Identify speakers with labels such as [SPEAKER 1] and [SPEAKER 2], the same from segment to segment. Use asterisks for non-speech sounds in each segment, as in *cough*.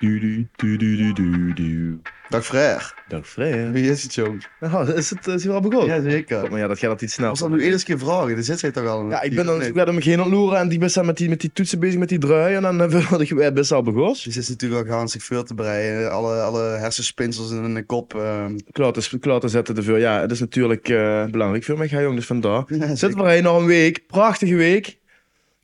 [SPEAKER 1] Du, du, du, du, du, du.
[SPEAKER 2] Dag vraag.
[SPEAKER 1] Dag Freya.
[SPEAKER 2] Wie is het, jongens?
[SPEAKER 1] Nou, is het, is hier al begonnen?
[SPEAKER 2] Jazeker.
[SPEAKER 1] Maar ja, dat gaat altijd iets snel.
[SPEAKER 2] Als dat nu eerst keer vragen, dan zit zij toch al. een
[SPEAKER 1] Ja, ik
[SPEAKER 2] keer,
[SPEAKER 1] ben dan
[SPEAKER 2] of
[SPEAKER 1] ik
[SPEAKER 2] niet?
[SPEAKER 1] ben om geen ontloeren en die best met die, met die toetsen bezig met die drui. En eh, dan *laughs* hebben we de best al begonnen.
[SPEAKER 2] Ze zit natuurlijk al gaan zich veel te breien. Alle, alle hersenspinsels in de
[SPEAKER 1] *laughs*
[SPEAKER 2] kop. ehm.
[SPEAKER 1] Klaar te, klaar te zetten te veel. Ja, het is natuurlijk eh, belangrijk voor mij. Ga jong, dus vandaar. Zit
[SPEAKER 2] Zeker.
[SPEAKER 1] maar heen nog een week. Prachtige week.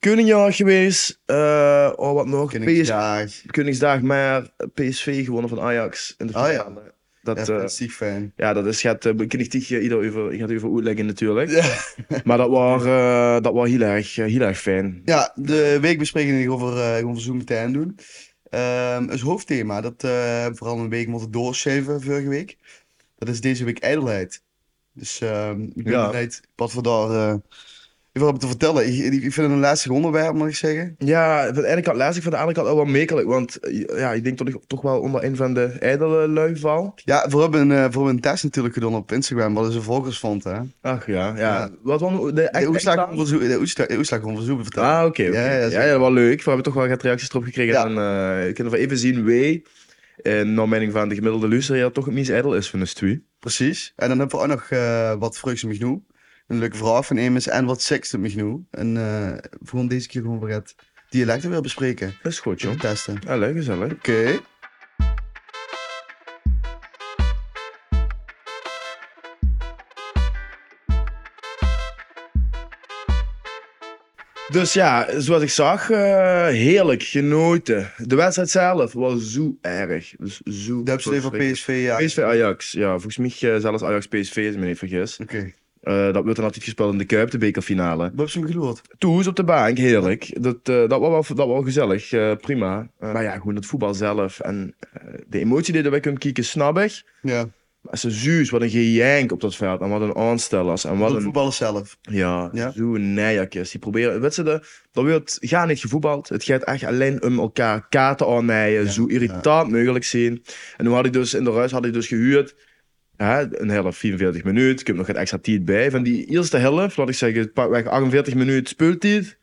[SPEAKER 1] Koningjaar geweest. Eh, oh, wat nog? PS...
[SPEAKER 2] Kinderdagdag.
[SPEAKER 1] Koningsdag, maar PSV gewonnen van Ajax in de
[SPEAKER 2] Ah, ja.
[SPEAKER 1] finale.
[SPEAKER 2] Ja,
[SPEAKER 1] Dat, eh,
[SPEAKER 2] fantastiek fan.
[SPEAKER 1] Ja, dat is, gaat, uh, ieder over, gaat over uitleggen natuurlijk.
[SPEAKER 2] Ja.
[SPEAKER 1] *laughs* Maar dat was, eh, dat was heel, erg, eh, heel erg fijn.
[SPEAKER 2] Ja, de weekbespreking die ik over, eh over Zoom meteen doen. Ehm is hoofdthema. Dat eh, vooral een week moeten doorschuiven vorige week. Dat is deze week ijdelheid. Dus ehm ik ben
[SPEAKER 1] Ja.
[SPEAKER 2] benieuwd wat we daar eh even hebben te vertellen. Ik, ik ik vind het een lastig onderwerp, moet ik zeggen.
[SPEAKER 1] Ja, van de ene kant lastig, van de andere kant ook wel mekelijk. Want eh, ja, ik denk dat ik toch wel onder een van de ijdele lui val.
[SPEAKER 2] Ja, we hebben, eh, we hebben een test natuurlijk gedaan op Instagram, wat onze volgers vonden. Hè?
[SPEAKER 1] Ach ja, ja.
[SPEAKER 2] Ja.
[SPEAKER 1] Wat was nou de
[SPEAKER 2] De
[SPEAKER 1] echt-
[SPEAKER 2] oeslag
[SPEAKER 1] echt-
[SPEAKER 2] onderzoek, de oeslag- de oeslag onderzoek vertellen.
[SPEAKER 1] Ah, oké. oké.
[SPEAKER 2] Ja, ja,
[SPEAKER 1] Ja,
[SPEAKER 2] zeker.
[SPEAKER 1] ja, wel leuk. We hebben toch wel wat reacties erop gekregen.
[SPEAKER 2] Ja.
[SPEAKER 1] En eh, we kunnen wel even zien wie, eh naar mening van de gemiddelde luisteraar, toch het meest ijdel is van de twee.
[SPEAKER 2] Precies. En dan hebben we ook nog eh, wat vreugde me genoeg. Een leuke vraag van Emus en wat seks me genoeg. En eh we gaan deze keer gewoon weer het dialect weer bespreken.
[SPEAKER 1] Dat is goed,
[SPEAKER 2] Om
[SPEAKER 1] jong.
[SPEAKER 2] testen. Oké.
[SPEAKER 1] Ja, leuk, gezellig. Dus ja, zoals ik zag, eh, heerlijk genoten. De wedstrijd zelf was zo erg. Dus zo
[SPEAKER 2] De upstate van
[SPEAKER 1] verschrikkelijk.
[SPEAKER 2] PSV, ja.
[SPEAKER 1] PSV Ajax, ja. Volgens mij eh, zelfs Ajax PSV, als ik me niet vergis.
[SPEAKER 2] Oké.
[SPEAKER 1] Eh, dat werd dan altijd gespeeld in de Kuip, de bekerfinale.
[SPEAKER 2] Wat hebben ze hem geloord?
[SPEAKER 1] Toes op de bank, heerlijk. Dat, eh, dat, was, wel, dat was wel gezellig, eh, prima. Eh, maar ja, gewoon het voetbal zelf en eh, de emotie die erbij kunt kijken, snap ik.
[SPEAKER 2] Ja.
[SPEAKER 1] Maar ze zuus, wat een gejank op dat veld en wat een aanstellers en wat
[SPEAKER 2] Wat de
[SPEAKER 1] een...
[SPEAKER 2] voetballers zelf.
[SPEAKER 1] Ja,
[SPEAKER 2] Ja.
[SPEAKER 1] zo'n nijakjes. Die proberen, weet je, de, dat wordt ga niet gevoetbald. Het gaat echt alleen om elkaar kaarten aannijden,
[SPEAKER 2] Ja,
[SPEAKER 1] zo irritant mogelijk zien. En nu had ik dus in de ruis had ik dus gehuurd, hè, een helft 44 minuten, ik heb nog het extra tijd bij. Van die eerste helft, laat ik zeggen, pakweg 48 minuten speeltijd,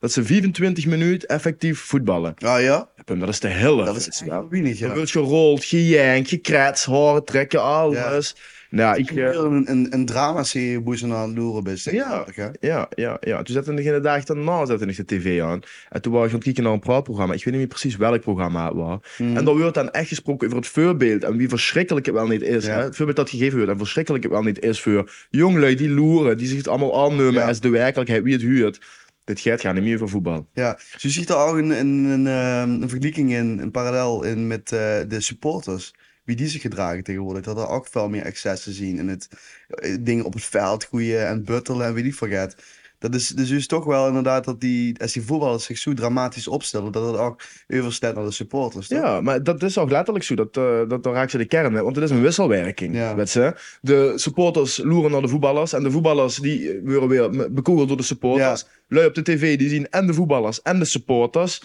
[SPEAKER 1] dat ze 25 minuten effectief voetballen.
[SPEAKER 2] Ah ja?
[SPEAKER 1] Punt, Dat is de helft.
[SPEAKER 2] Dat is
[SPEAKER 1] weet
[SPEAKER 2] echt
[SPEAKER 1] je wel.
[SPEAKER 2] wel weinig, ja.
[SPEAKER 1] Er wordt gerold, gejankt, gekrets, horen trekken, alles. Nou, ik...
[SPEAKER 2] Ik
[SPEAKER 1] eh,
[SPEAKER 2] wil een, een, een drama-serie boeien ze aan het loeren bent. tegenwoordig, hè?
[SPEAKER 1] Ja, ja, ja. Toen zette ik in de dag daarna zette ik de tv aan. En toen was ik aan het kijken naar een praatprogramma. Ik weet niet meer precies welk programma het was.
[SPEAKER 2] Mhm.
[SPEAKER 1] En daar wordt dan echt gesproken over het voorbeeld. En wie verschrikkelijk het wel niet is.
[SPEAKER 2] Ja.
[SPEAKER 1] Hè? Het voorbeeld dat gegeven wordt. En verschrikkelijk het wel niet is voor jonglui die loeren. Die zich het allemaal aannemen
[SPEAKER 2] Ja.
[SPEAKER 1] als de werkelijkheid. Wie het huurt. Dit gaat gaan niet meer over voetbal.
[SPEAKER 2] Ja, dus je ziet er al een, een, een, ehm, een vergelijking in, een parallel in met eh, de supporters. Wie die zich gedragen tegenwoordig. Dat er ook veel meer excess te zien in het eh, dingen op het veld groeien en buttelen en wie niet vergeet. Dat is dus is toch wel inderdaad dat die, als die voetballers zich zo dramatisch opstellen, dat het ook overstijgt naar de supporters. toch?
[SPEAKER 1] Ja, maar dat is ook letterlijk zo. Dat, eh, dat, dan raak je de kern. hè. Want het is een wisselwerking.
[SPEAKER 2] Ja.
[SPEAKER 1] Weet je? De supporters loeren naar de voetballers. En de voetballers die eh, worden weer me- bekogeld door de supporters. Lui op de tv die zien en de voetballers en de supporters.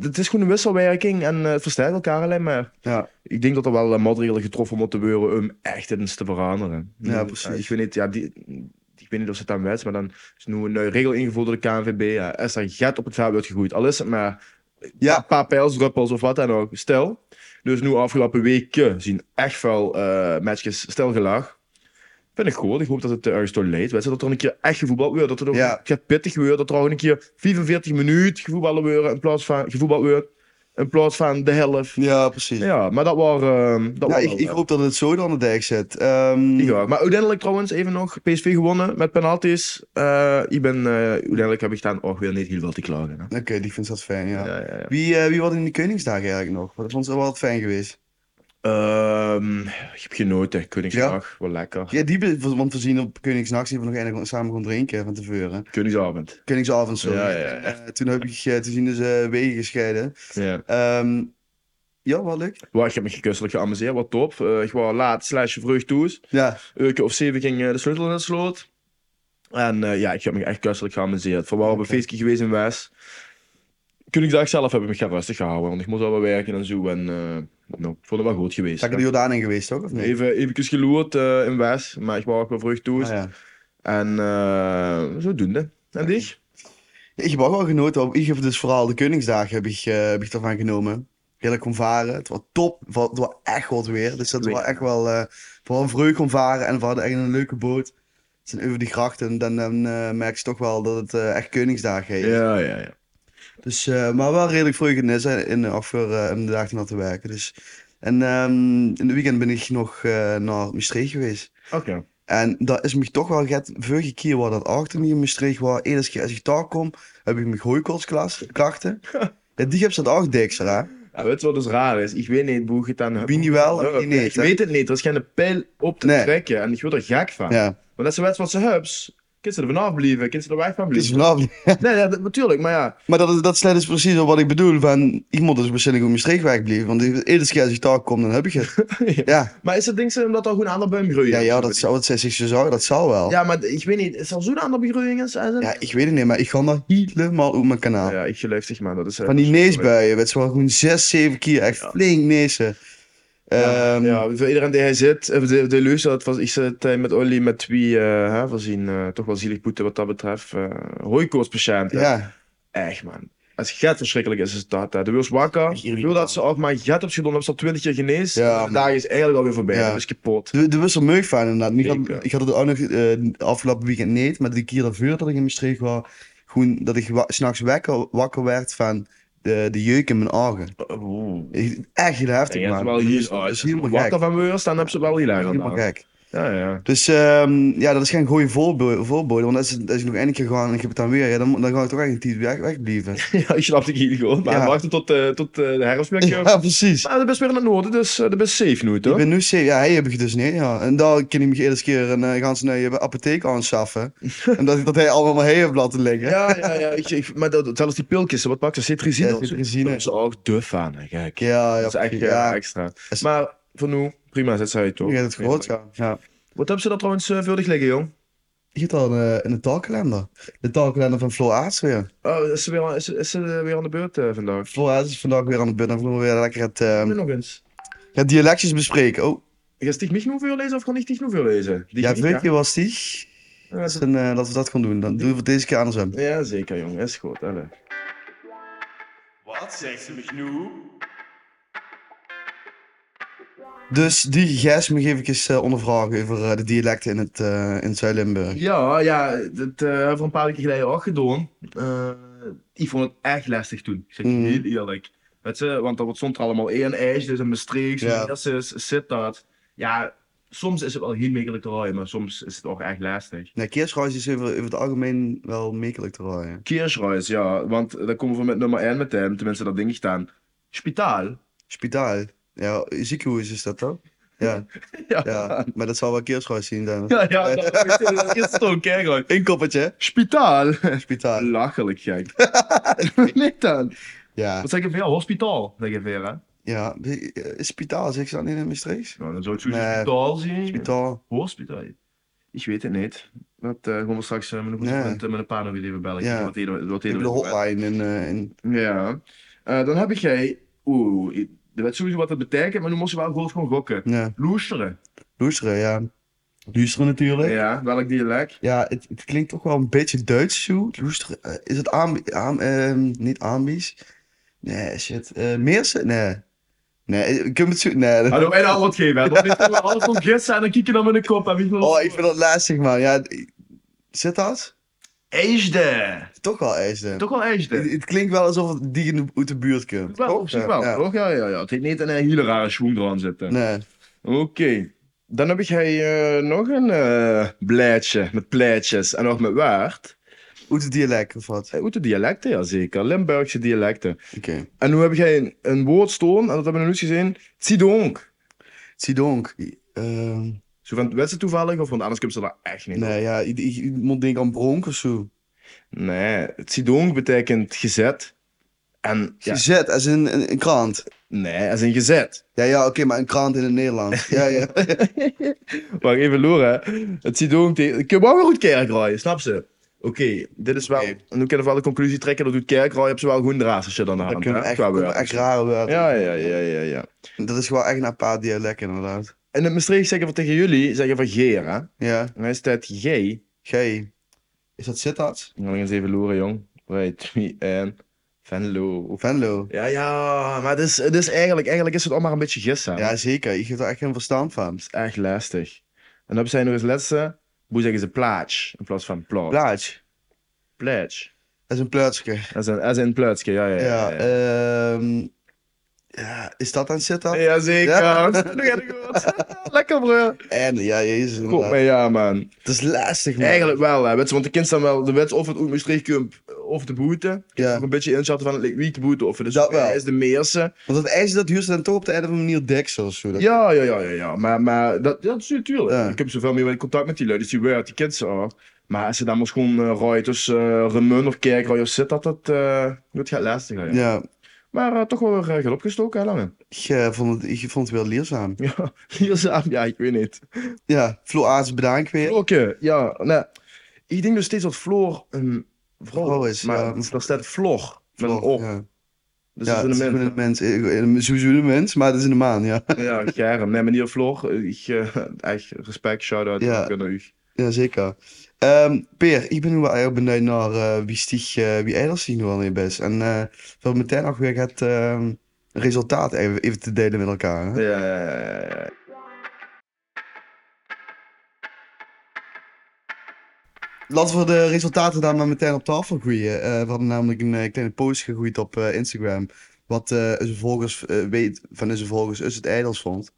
[SPEAKER 1] Het is gewoon een wisselwerking. En eh, het versterkt elkaar alleen maar.
[SPEAKER 2] Ja.
[SPEAKER 1] Ik denk dat er wel eh, maatregelen getroffen moeten worden om echt eens te veranderen.
[SPEAKER 2] Ja,
[SPEAKER 1] Eh,
[SPEAKER 2] precies.
[SPEAKER 1] Ik weet niet, ja, die, ik weet niet of ze het aan wijst, maar dan is nu een eh, regel ingevoerd door de KNVB. Ja, als er gat op het veld wordt gegooid, al is het maar ja.
[SPEAKER 2] Ja.
[SPEAKER 1] een paar pijlsdruppels of wat dan ook. Stel, dus nu afgelopen weken zien echt wel eh matchjes stelgelag. Vind ik goed. Ik hoop dat het eh, ergens door leidt. Weet je, dat er een keer echt gevoetbald wordt. Dat er ook
[SPEAKER 2] Ja.
[SPEAKER 1] het gaat pittig wordt. Dat er ook een keer 45 minuten gevoetballen worden in plaats van gevoetbald wordt. In plaats van de helft.
[SPEAKER 2] Ja, precies. Ja, nou,
[SPEAKER 1] Ja, maar dat was... ehm dat was
[SPEAKER 2] ik,
[SPEAKER 1] wel,
[SPEAKER 2] ik
[SPEAKER 1] eh,
[SPEAKER 2] hoop dat het zo dan aan de dijk zit. Ehm,
[SPEAKER 1] ik ook. Maar uiteindelijk trouwens, even nog, PSV gewonnen met penalties. Eh, ik ben, eh, uiteindelijk heb ik dan ook weer niet heel veel te klagen. hè.
[SPEAKER 2] Oké, die vindt dat fijn, ja.
[SPEAKER 1] Ja, ja, ja.
[SPEAKER 2] Wie, eh, wie was in de Koningsdagen eigenlijk nog? Dat vond ze wel wat fijn geweest.
[SPEAKER 1] Ehm, ik heb genoten, Koningsdag, wel lekker.
[SPEAKER 2] Ja, die, be- want we zien op Koningsnacht zien we nog eindelijk samen gaan drinken van tevoren.
[SPEAKER 1] Koningsavond.
[SPEAKER 2] Koningsavond, sorry.
[SPEAKER 1] Ja, ja, ja.
[SPEAKER 2] En, eh, toen heb ik eh, te zien dus eh, wegen gescheiden.
[SPEAKER 1] Ja.
[SPEAKER 2] Ehm, ja, wel leuk.
[SPEAKER 1] Waar, ik heb me gekusselijk geamuseerd, wat top. Eh, ik was laat slash vroeg toe.
[SPEAKER 2] Ja,
[SPEAKER 1] Uurke of zeven ging eh, de sleutel in het sloot. En eh, ja, ik heb me echt kusselijk geamuseerd. Voor we waren op
[SPEAKER 2] Oké.
[SPEAKER 1] een feestje geweest in West. Koningsdag zelf heb ik me gaan rustig gehouden, want ik moest al wel werken en zo. En eh, nou, ik vond het wel goed geweest.
[SPEAKER 2] zijn ik de Jordaan in geweest, toch? Of niet?
[SPEAKER 1] Even, even geloerd eh, in West, maar ik was ook wel vroeg toe.
[SPEAKER 2] Ah, ja.
[SPEAKER 1] En eh, zodoende. En dich?
[SPEAKER 2] Ik heb ook wel genoten. op- Ik heb dus vooral de Koningsdagen heb ik, eh, heb ik ervan genomen. heerlijk kon varen. Het was top. Het was, het was echt wat weer. Dus dat
[SPEAKER 1] Weet
[SPEAKER 2] was
[SPEAKER 1] je.
[SPEAKER 2] echt wel eh, vooral een vreugde kon varen. En we hadden echt een leuke boot. Dus over die grachten, en dan, dan eh, merk je toch wel dat het eh, echt Koningsdagen heeft.
[SPEAKER 1] Ja, ja, ja.
[SPEAKER 2] Dus, eh, maar wel redelijk vroeg in de, in de afgelopen eh, om de dag na te werken. Dus, en ehm, in het weekend ben ik nog eh, naar Maastricht geweest.
[SPEAKER 1] Oké.
[SPEAKER 2] En dat is me toch wel get vorige keer waar dat achter niet in Maastricht was. Eerst keer als ik daar kom, heb ik mijn gooikolsklachten. ja, die heb ze dat ook dikster, hè?
[SPEAKER 1] Ja, weet je wat dus raar is? Ik weet niet hoe je het aan...
[SPEAKER 2] Wie niet wel, en wie niet,
[SPEAKER 1] Ik
[SPEAKER 2] hè?
[SPEAKER 1] weet het niet. Er is geen pijl op te
[SPEAKER 2] Nee.
[SPEAKER 1] trekken. En ik word er gek van.
[SPEAKER 2] Ja,
[SPEAKER 1] Maar dat is een wedstrijd wat ze hubs. Kind ze er vanaf blijven. Kind ze er weg van
[SPEAKER 2] het is
[SPEAKER 1] blijven.
[SPEAKER 2] vanaf.
[SPEAKER 1] Nee, ja, dat- natuurlijk. Maar ja. *laughs*
[SPEAKER 2] Maar dat, is- dat is net dus precies wat ik bedoel. Van, ik moet dus waarschijnlijk op Maastricht wegblijven. Want de eerste keer als ik daar kom, dan heb ik het. Ja,
[SPEAKER 1] Maar is het ding zo omdat er gewoon een andere boom groeit?
[SPEAKER 2] ja, ja dat zou het zij zich zo zorgen, dat zou wel.
[SPEAKER 1] Ja, maar ik weet niet. Is er zo'n andere begroeiing? Is, is het?
[SPEAKER 2] Ja, ik weet het niet, maar ik ga daar helemaal op mijn kanaal.
[SPEAKER 1] ja, ik geloof zeg maar. Dat is, eh,
[SPEAKER 2] Van die
[SPEAKER 1] verschrikkelijk.
[SPEAKER 2] neusbuien, weet je wel, gewoon zes, zeven keer echt flink nezen.
[SPEAKER 1] Ja,
[SPEAKER 2] Ehm,
[SPEAKER 1] ja, voor iedereen die hij zit, eh, de, de luister, dat was, ik zit eh, met Olly, met wie eh, hè, we zien eh, toch wel zielig boete wat dat betreft. eh hooikoortspatiënten.
[SPEAKER 2] ja.
[SPEAKER 1] Echt, man. Als het verschrikkelijk is, is het dat. hè. De Wils wakker,
[SPEAKER 2] Echt irritant.
[SPEAKER 1] wil dat ze ook maar get op gedaan, hebben ze al twintig keer geneest.
[SPEAKER 2] Ja,
[SPEAKER 1] de dag is eigenlijk alweer voorbij,
[SPEAKER 2] Ja.
[SPEAKER 1] dat is kapot.
[SPEAKER 2] De, de wissel meug van inderdaad. Ik
[SPEAKER 1] Zeker.
[SPEAKER 2] had, ik had het ook nog eh, afgelopen weekend niet, maar de keer daarvoor dat ik in Maastricht was, gewoon dat ik wa- s'nachts wakker, wakker werd van de, de jeuk in mijn ogen.
[SPEAKER 1] Oeh.
[SPEAKER 2] Ik- Echt heel heftig,
[SPEAKER 1] Ja,
[SPEAKER 2] man.
[SPEAKER 1] het is wel hier,
[SPEAKER 2] Dat
[SPEAKER 1] oh,
[SPEAKER 2] is
[SPEAKER 1] als je
[SPEAKER 2] helemaal
[SPEAKER 1] wakker
[SPEAKER 2] gek.
[SPEAKER 1] van weurs, dan hebben ze wel hier aan
[SPEAKER 2] Helemaal gek.
[SPEAKER 1] Ja, ja. *laughs*
[SPEAKER 2] Dus ehm, ja, dat is geen goede voorbode, voorbode want als, als ik nog één keer ga en ik heb het dan weer, ja, dan, dan ga ik toch echt een tijd weg, wegblijven.
[SPEAKER 1] ja, ik snap het hier gewoon. Maar
[SPEAKER 2] Ja.
[SPEAKER 1] wachten tot, eh, tot eh, de herfst weer.
[SPEAKER 2] *laughs* Ja, precies.
[SPEAKER 1] Maar dat is weer in het noorden, dus eh, dat is safe nu,
[SPEAKER 2] Ik
[SPEAKER 1] toch?
[SPEAKER 2] ben nu zeven, ja, hij heb ik dus niet, ja. En daar kan ik me eerst keer een uh, ganse nieuwe
[SPEAKER 1] *laughs*
[SPEAKER 2] apotheek aanschaffen. en dat, dat hij allemaal heel heeft laten liggen.
[SPEAKER 1] Ja, ja, ja. Ik, ik- maar dat, zelfs die pilkjes, wat maakt ze? Cetrizine.
[SPEAKER 2] Ja,
[SPEAKER 1] of zo?
[SPEAKER 2] cetrizine.
[SPEAKER 1] Daar is ze ook duf aan, hè, gek.
[SPEAKER 2] Ja, ja,
[SPEAKER 1] dat is echt
[SPEAKER 2] precies.
[SPEAKER 1] eh,
[SPEAKER 2] ja.
[SPEAKER 1] extra.
[SPEAKER 2] Is-
[SPEAKER 1] Maar voor nu, prima, zet zij toch?
[SPEAKER 2] Je hebt het gehoord, ja. ja.
[SPEAKER 1] Wat hebben ze daar trouwens uh, vuldig liggen, jong?
[SPEAKER 2] Je zit al eh, in de taalkalender. De taalkalender van Flo Aerts weer.
[SPEAKER 1] Oh, is ze weer, aan- is, is ze eh, weer aan de beurt eh, vandaag?
[SPEAKER 2] Flo Aerts is vandaag weer aan de beurt. Dan gaan we weer lekker het, ehm,
[SPEAKER 1] Nu nog eens.
[SPEAKER 2] het dialectjes bespreken. Oh,
[SPEAKER 1] Gaat dich nicht nur lezen of kan ich dich nur lezen? Die
[SPEAKER 2] ja,
[SPEAKER 1] niet,
[SPEAKER 2] weet je was die? En, eh, dat we dat gaan doen. Dan doen we het deze keer andersom.
[SPEAKER 1] Ja, zeker, jong. Is goed, alle.
[SPEAKER 3] Wat zegt ze mich nu?
[SPEAKER 2] Dus die Gijs me geef ik eens eh, ondervragen over eh, de dialecten in het, eh, in het Zuid-Limburg.
[SPEAKER 1] Ja, ja, dat eh, hebben we een paar weken geleden ook gedaan. Eh, ik vond het echt lastig toen, ik zeg je
[SPEAKER 2] Mhm.
[SPEAKER 1] heel eerlijk. Weet je, want er wordt soms er allemaal één ijs, dus een Maastricht,
[SPEAKER 2] Ja.
[SPEAKER 1] een Heerses, zit dat. Ja, soms is het wel heel makkelijk te rijden, maar soms is het ook echt lastig.
[SPEAKER 2] Nee, keersruis is over, over het algemeen wel mekelijk te raaien.
[SPEAKER 1] Keersreis, ja, want eh, daar komen we met nummer 1 met hem, tenminste dat ding staan. Spitaal. *laughs*
[SPEAKER 2] Spitaal. Ja, ziekenhuis is dat toch? Ja,
[SPEAKER 1] Ja,
[SPEAKER 2] ja. maar dat zal wel keersruis zien dan.
[SPEAKER 1] ja, ja dat is- dat is toch keer
[SPEAKER 2] Eén koppetje,
[SPEAKER 1] Spitaal.
[SPEAKER 2] spitaal.
[SPEAKER 1] Lachelijk *laughs* gek. Wat niet dan?
[SPEAKER 2] Ja,
[SPEAKER 1] Wat zeg je veel? Hospitaal, zeg je veel, hè?
[SPEAKER 2] ja. eh, Spitaal, zeg ze dat niet in Maastricht?
[SPEAKER 1] Nou, dan zou ik zoiets
[SPEAKER 2] Nee.
[SPEAKER 1] spitaal zien.
[SPEAKER 2] Spitaal.
[SPEAKER 1] Hospitaal? Ik weet het niet. Dat eh, gaan we straks eh, met, een
[SPEAKER 2] Nee.
[SPEAKER 1] met, met een paar nog weer even bellen.
[SPEAKER 2] Ja.
[SPEAKER 1] Wat deden we- wat
[SPEAKER 2] Ik
[SPEAKER 1] deden
[SPEAKER 2] heb de
[SPEAKER 1] we-
[SPEAKER 2] hotline in, eh, in...
[SPEAKER 1] Ja. Eh, dan heb ik jij... Oeh, ik- je weet sowieso wat dat betekent, maar nu moest je wel gewoon, gewoon gokken.
[SPEAKER 2] Ja,
[SPEAKER 1] Loesteren.
[SPEAKER 2] luisteren, ja. Luisteren natuurlijk. Ja,
[SPEAKER 1] Ja, welk dialect?
[SPEAKER 2] het, het klinkt toch wel een beetje Duits, zo. Luisteren, eh, is het aan... aan ehm, niet aanbies? Nee, shit. Eh Meersen? Nee. Nee, ik heb het zo...
[SPEAKER 1] *laughs*
[SPEAKER 2] Nee. dat-
[SPEAKER 1] Hallo, Ah, nou, en al wat geven. hè. Dan is het alles van gidsen en dan kijk je naar mijn kop. En wie wil-
[SPEAKER 2] Oh, ik vind dat lastig, man. Ja, ik- zit dat?
[SPEAKER 1] Eisde.
[SPEAKER 2] Toch wel eisen.
[SPEAKER 1] Toch wel eisde.
[SPEAKER 2] Het, het klinkt wel alsof het die in de, uit de buurt komt.
[SPEAKER 1] Wel, op zich wel,
[SPEAKER 2] Ja.
[SPEAKER 1] toch? Ja, ja, ja. Het heeft niet een hele rare schoen eraan zitten.
[SPEAKER 2] Nee.
[SPEAKER 1] Oké. Dan heb ik hij eh, nog een eh blaadje met plaatjes en ook met waard.
[SPEAKER 2] Uit het dialect of wat?
[SPEAKER 1] Uit de dialecten, ja zeker. Limburgse dialecten.
[SPEAKER 2] Oké.
[SPEAKER 1] En nu heb jij een, een woord staan, en dat hebben we nu eens gezien. Tsidonk.
[SPEAKER 2] Zidonk. Ehm
[SPEAKER 1] Zo van, weet ze toevallig of want anders komt ze daar echt niet op.
[SPEAKER 2] nee, ja, ik, ik, ik moet denken aan bronk of zo.
[SPEAKER 1] Nee, Tsidonk betekent gezet. En ja,
[SPEAKER 2] Gezet, als in een, een krant.
[SPEAKER 1] nee, als een gezet.
[SPEAKER 2] Ja, ja, oké, maar een krant in het
[SPEAKER 1] *laughs*
[SPEAKER 2] Nederlands. ja, ja.
[SPEAKER 1] Wacht even, Laura. Het Tsidonk, die- ik heb wel een goed kerkraai, snap ze? Oké, dit is wel.
[SPEAKER 2] Oké.
[SPEAKER 1] Nu kunnen we wel de conclusie trekken dat doet kerkraai heb ze wel goed raas als je dan
[SPEAKER 2] Dat
[SPEAKER 1] aan
[SPEAKER 2] kunnen echt, kunnen echt rare woorden.
[SPEAKER 1] Ja, ja, ja, ja, ja.
[SPEAKER 2] Dat is gewoon echt een apart dialect, inderdaad.
[SPEAKER 1] En in Maastricht zeggen we tegen jullie, zeggen we geer, hè? En
[SPEAKER 2] Ja.
[SPEAKER 1] hij staat G.
[SPEAKER 2] Gij. Is dat Sittard?
[SPEAKER 1] Ik ga nog eens even loeren, jong. 2, 3, 1. Venlo.
[SPEAKER 2] Venlo.
[SPEAKER 1] Ja, ja, maar het is, het is eigenlijk, eigenlijk is het allemaal een beetje gissen.
[SPEAKER 2] Ja, zeker. Je geeft er echt geen verstand van.
[SPEAKER 1] Het is echt lastig. En dan zijn we als laatste, hoe zeggen ze plaats in plaats van plaats?
[SPEAKER 2] Plaats.
[SPEAKER 1] Plaats.
[SPEAKER 2] Dat is een plaatsje.
[SPEAKER 1] Als een, als een plaatsje, ja, ja, ja.
[SPEAKER 2] Ja,
[SPEAKER 1] ja,
[SPEAKER 2] ehm, ja, is dat aan zitten?
[SPEAKER 1] Jazeker. *laughs*
[SPEAKER 2] Ja.
[SPEAKER 1] Nu gaat het goed. Lekker, bro.
[SPEAKER 2] En ja, jezus.
[SPEAKER 1] Goed,
[SPEAKER 2] inderdaad.
[SPEAKER 1] maar ja, man.
[SPEAKER 2] Het is lastig, man.
[SPEAKER 1] Eigenlijk wel, hè, weet je, want de kind staan wel de wet of het Oetmeestreekkamp of de boete. Ik
[SPEAKER 2] Ja.
[SPEAKER 1] heb nog een beetje inschatten van like, wie de boete of dus
[SPEAKER 2] Dat wel.
[SPEAKER 1] is de meerse.
[SPEAKER 2] Want dat ijs dat huurt ze dan toch op de einde van manier deksel of zo. Dat-
[SPEAKER 1] Ja, ja, ja, ja, ja. Maar, maar dat, dat is natuurlijk.
[SPEAKER 2] Ja.
[SPEAKER 1] Ik heb zoveel meer contact met die lui, dus die weet die kids al. Maar als ze dan maar gewoon eh rijden tussen eh, Remun of Kerkrij of zit, dat, dat, eh, dat gaat lastig. hè, Ja.
[SPEAKER 2] ja.
[SPEAKER 1] Maar eh, toch wel weer eh, geld opgestoken, hè, Lange? *laughs*
[SPEAKER 2] Ik, eh, vond het, ik vond het wel leerzaam.
[SPEAKER 1] Ja, leerzaam, ja, ik weet niet.
[SPEAKER 2] Ja, Flo Aarts bedankt weer.
[SPEAKER 1] Oké, ja, nou, ik denk nog steeds dat Floor een vrouw,
[SPEAKER 2] Vrouw
[SPEAKER 1] is.
[SPEAKER 2] is,
[SPEAKER 1] Maar
[SPEAKER 2] ja.
[SPEAKER 1] daar staat Floor met een O.
[SPEAKER 2] Flo, ja.
[SPEAKER 1] Dus
[SPEAKER 2] ja,
[SPEAKER 1] dat
[SPEAKER 2] het
[SPEAKER 1] is
[SPEAKER 2] is
[SPEAKER 1] een
[SPEAKER 2] gewoon
[SPEAKER 1] mens.
[SPEAKER 2] een mens. Eh, eh, Sowieso een mens, maar het is in de maan, ja. *laughs*
[SPEAKER 1] Ja, Germ. Nee, meneer Floor, ik, eh, echt respect, shout-out
[SPEAKER 2] Ja.
[SPEAKER 1] ook aan u.
[SPEAKER 2] Ja, zeker. Ehm, Peer, ik ben nu wel erg benieuwd naar eh, wie stieg, eh, wie elders zich nu wel in best. En eh dat meteen ook weer het ehm, resultaat even, even te delen met elkaar. hè?
[SPEAKER 1] Ja, ja, ja, ja.
[SPEAKER 2] Laten we de resultaten daar maar meteen op tafel gooien. Eh, we hadden namelijk een eh, kleine post gegooid op eh, Instagram. Wat eh onze volgers eh, weet van onze volgers is het ijdels vond.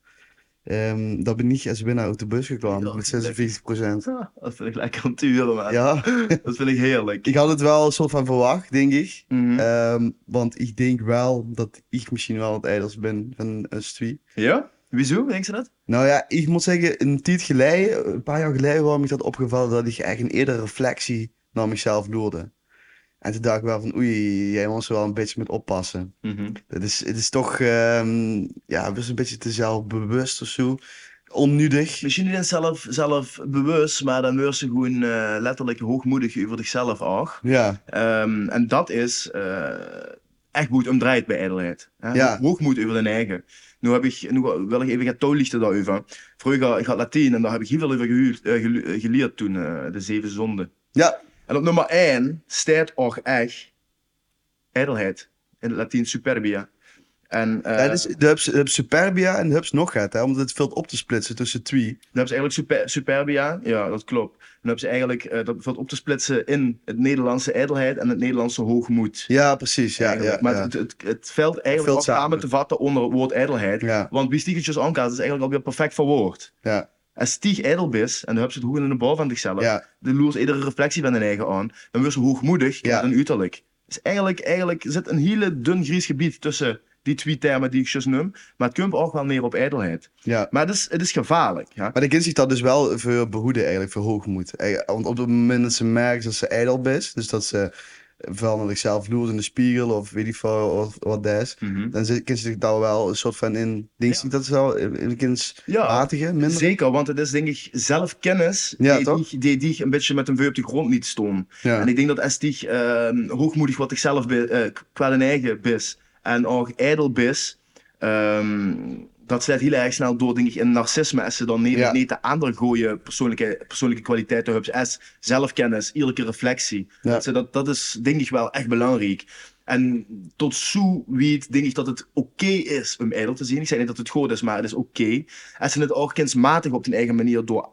[SPEAKER 2] Ehm, dat ben ik als winnaar uit de bus gekomen
[SPEAKER 1] Ja,
[SPEAKER 2] met
[SPEAKER 1] leuk.
[SPEAKER 2] 46 procent.
[SPEAKER 1] Ja, Dat vind ik lekker om te huren, man.
[SPEAKER 2] Ja,
[SPEAKER 1] Dat vind ik heerlijk.
[SPEAKER 2] ik had het wel een soort van verwacht, denk ik.
[SPEAKER 1] Mhm.
[SPEAKER 2] Ehm, want ik denk wel dat ik misschien wel het ijdels ben van ons twee.
[SPEAKER 1] ja? Wieso? Denk ze dat?
[SPEAKER 2] Nou ja, ik moet zeggen, een tijd geleden, een paar jaar geleden, was me dat opgevallen dat ik eigenlijk een eerdere reflectie naar mezelf doorde. En toen dacht ik wel van, oei, jij moet er wel een beetje met oppassen.
[SPEAKER 1] Mhm.
[SPEAKER 2] Het is, het is toch, ehm, ja, best een beetje te zelfbewust of zo. Onnudig.
[SPEAKER 1] Misschien niet eens zelf, zelf bewust, maar dan wordt ze gewoon eh, letterlijk hoogmoedig over zichzelf af.
[SPEAKER 2] Ja,
[SPEAKER 1] Ehm, en dat is eh, echt goed omdraaid bij ijdelheid. hè.
[SPEAKER 2] Ja.
[SPEAKER 1] Hoogmoed over de eigen. Nu, heb ik, nu wil ik even gaan toelichten daarover. Vroeger, ik had Latijn en daar heb ik heel veel over gehuurd, eh, gelu- eh, geleerd toen, eh, de zeven zonden.
[SPEAKER 2] ja,
[SPEAKER 1] En op nummer 1 staat ook echt ijdelheid. In het Latijn superbia. En eh,
[SPEAKER 2] dat is de hubs, de hubs superbia en de hubs nog gaat, hè, om het veld op te splitsen tussen twee.
[SPEAKER 1] dan hebben ze eigenlijk super, superbia. Ja, dat klopt. Dan hebben ze eigenlijk eh, dat valt op te splitsen in het Nederlandse ijdelheid en het Nederlandse hoogmoed.
[SPEAKER 2] Ja, precies, ja,
[SPEAKER 1] eigenlijk.
[SPEAKER 2] ja,
[SPEAKER 1] maar
[SPEAKER 2] ja.
[SPEAKER 1] Het, het, het veld eigenlijk
[SPEAKER 2] veld
[SPEAKER 1] ook samen
[SPEAKER 2] samen.
[SPEAKER 1] te vatten onder het woord ijdelheid.
[SPEAKER 2] Ja.
[SPEAKER 1] Want wie stiegetjes aankaart is eigenlijk alweer perfect verwoord.
[SPEAKER 2] Ja,
[SPEAKER 1] Als stieg ijdel is, en dan heb ze het hoog in de bal van zichzelf,
[SPEAKER 2] ja,
[SPEAKER 1] de loers iedere reflectie van hun eigen aan, dan wordt ze hoogmoedig
[SPEAKER 2] Ja.
[SPEAKER 1] en uiterlijk. Dus eigenlijk, eigenlijk zit een hele dun grijs gebied tussen die twee termen die ik juist noem, maar het komt ook wel neer op ijdelheid.
[SPEAKER 2] ja.
[SPEAKER 1] Maar het is, het is gevaarlijk. Ja?
[SPEAKER 2] Maar de kind ziet dat dus wel voor behoeden eigenlijk, voor hoogmoed. Eigen- Want op het moment dat ze merkt dat ze ijdel is, dus dat ze vooral naar zichzelf loert in de spiegel of weet ik veel of wat dat is,
[SPEAKER 1] Mhm.
[SPEAKER 2] dan zit- kind zich daar wel een soort van in, denk
[SPEAKER 1] Ja.
[SPEAKER 2] ik dat wel, in kinds
[SPEAKER 1] Ja.
[SPEAKER 2] matige, minder.
[SPEAKER 1] Zeker, want het is denk ik zelfkennis
[SPEAKER 2] Ja,
[SPEAKER 1] die,
[SPEAKER 2] toch?
[SPEAKER 1] die, die, die een beetje met een veu op de grond niet stoom. En
[SPEAKER 2] Ja.
[SPEAKER 1] ik denk dat Estig ehm hoogmoedig wat zichzelf be- eh, k- qua een eigen bis en ook ijdel bis, ehm, dat sluit heel erg snel door denk ik, in narcisme. Als ze dan niet,
[SPEAKER 2] Ja.
[SPEAKER 1] niet de aandacht gooien, persoonlijke, persoonlijke kwaliteiten, hubs, S, zelfkennis, eerlijke reflectie.
[SPEAKER 2] Ja.
[SPEAKER 1] Dat, ze, dat, dat is denk ik wel echt belangrijk. En tot zo weet, denk ik dat het oké is om ijdel te zien. Ik zeg niet dat het goed is, maar het is oké. Als ze het ook kunstmatig op hun eigen manier door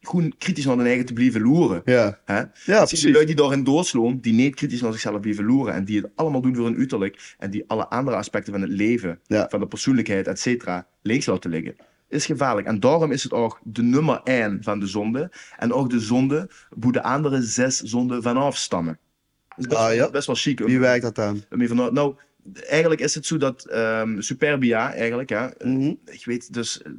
[SPEAKER 1] gewoon kritisch naar hun eigen te blijven loeren.
[SPEAKER 2] Ja.
[SPEAKER 1] Hè?
[SPEAKER 2] ja,
[SPEAKER 1] Dat zijn de
[SPEAKER 2] precies.
[SPEAKER 1] lui die daarin doorsloom, die niet kritisch naar zichzelf blijven loeren en die het allemaal doen voor hun uiterlijk en die alle andere aspecten van het leven,
[SPEAKER 2] Ja.
[SPEAKER 1] van de persoonlijkheid, et cetera, links laten liggen, is gevaarlijk. En daarom is het ook de nummer één van de zonde en ook de zonde hoe de andere zes zonden vanaf stammen. Dat is best,
[SPEAKER 2] Ah, ja.
[SPEAKER 1] best wel chic. om-
[SPEAKER 2] Wie werkt dat aan?
[SPEAKER 1] om hier vanuit- nou, eigenlijk is het zo dat ehm, superbia, eigenlijk, hè,
[SPEAKER 2] Mhm.
[SPEAKER 1] ik weet dus, eh,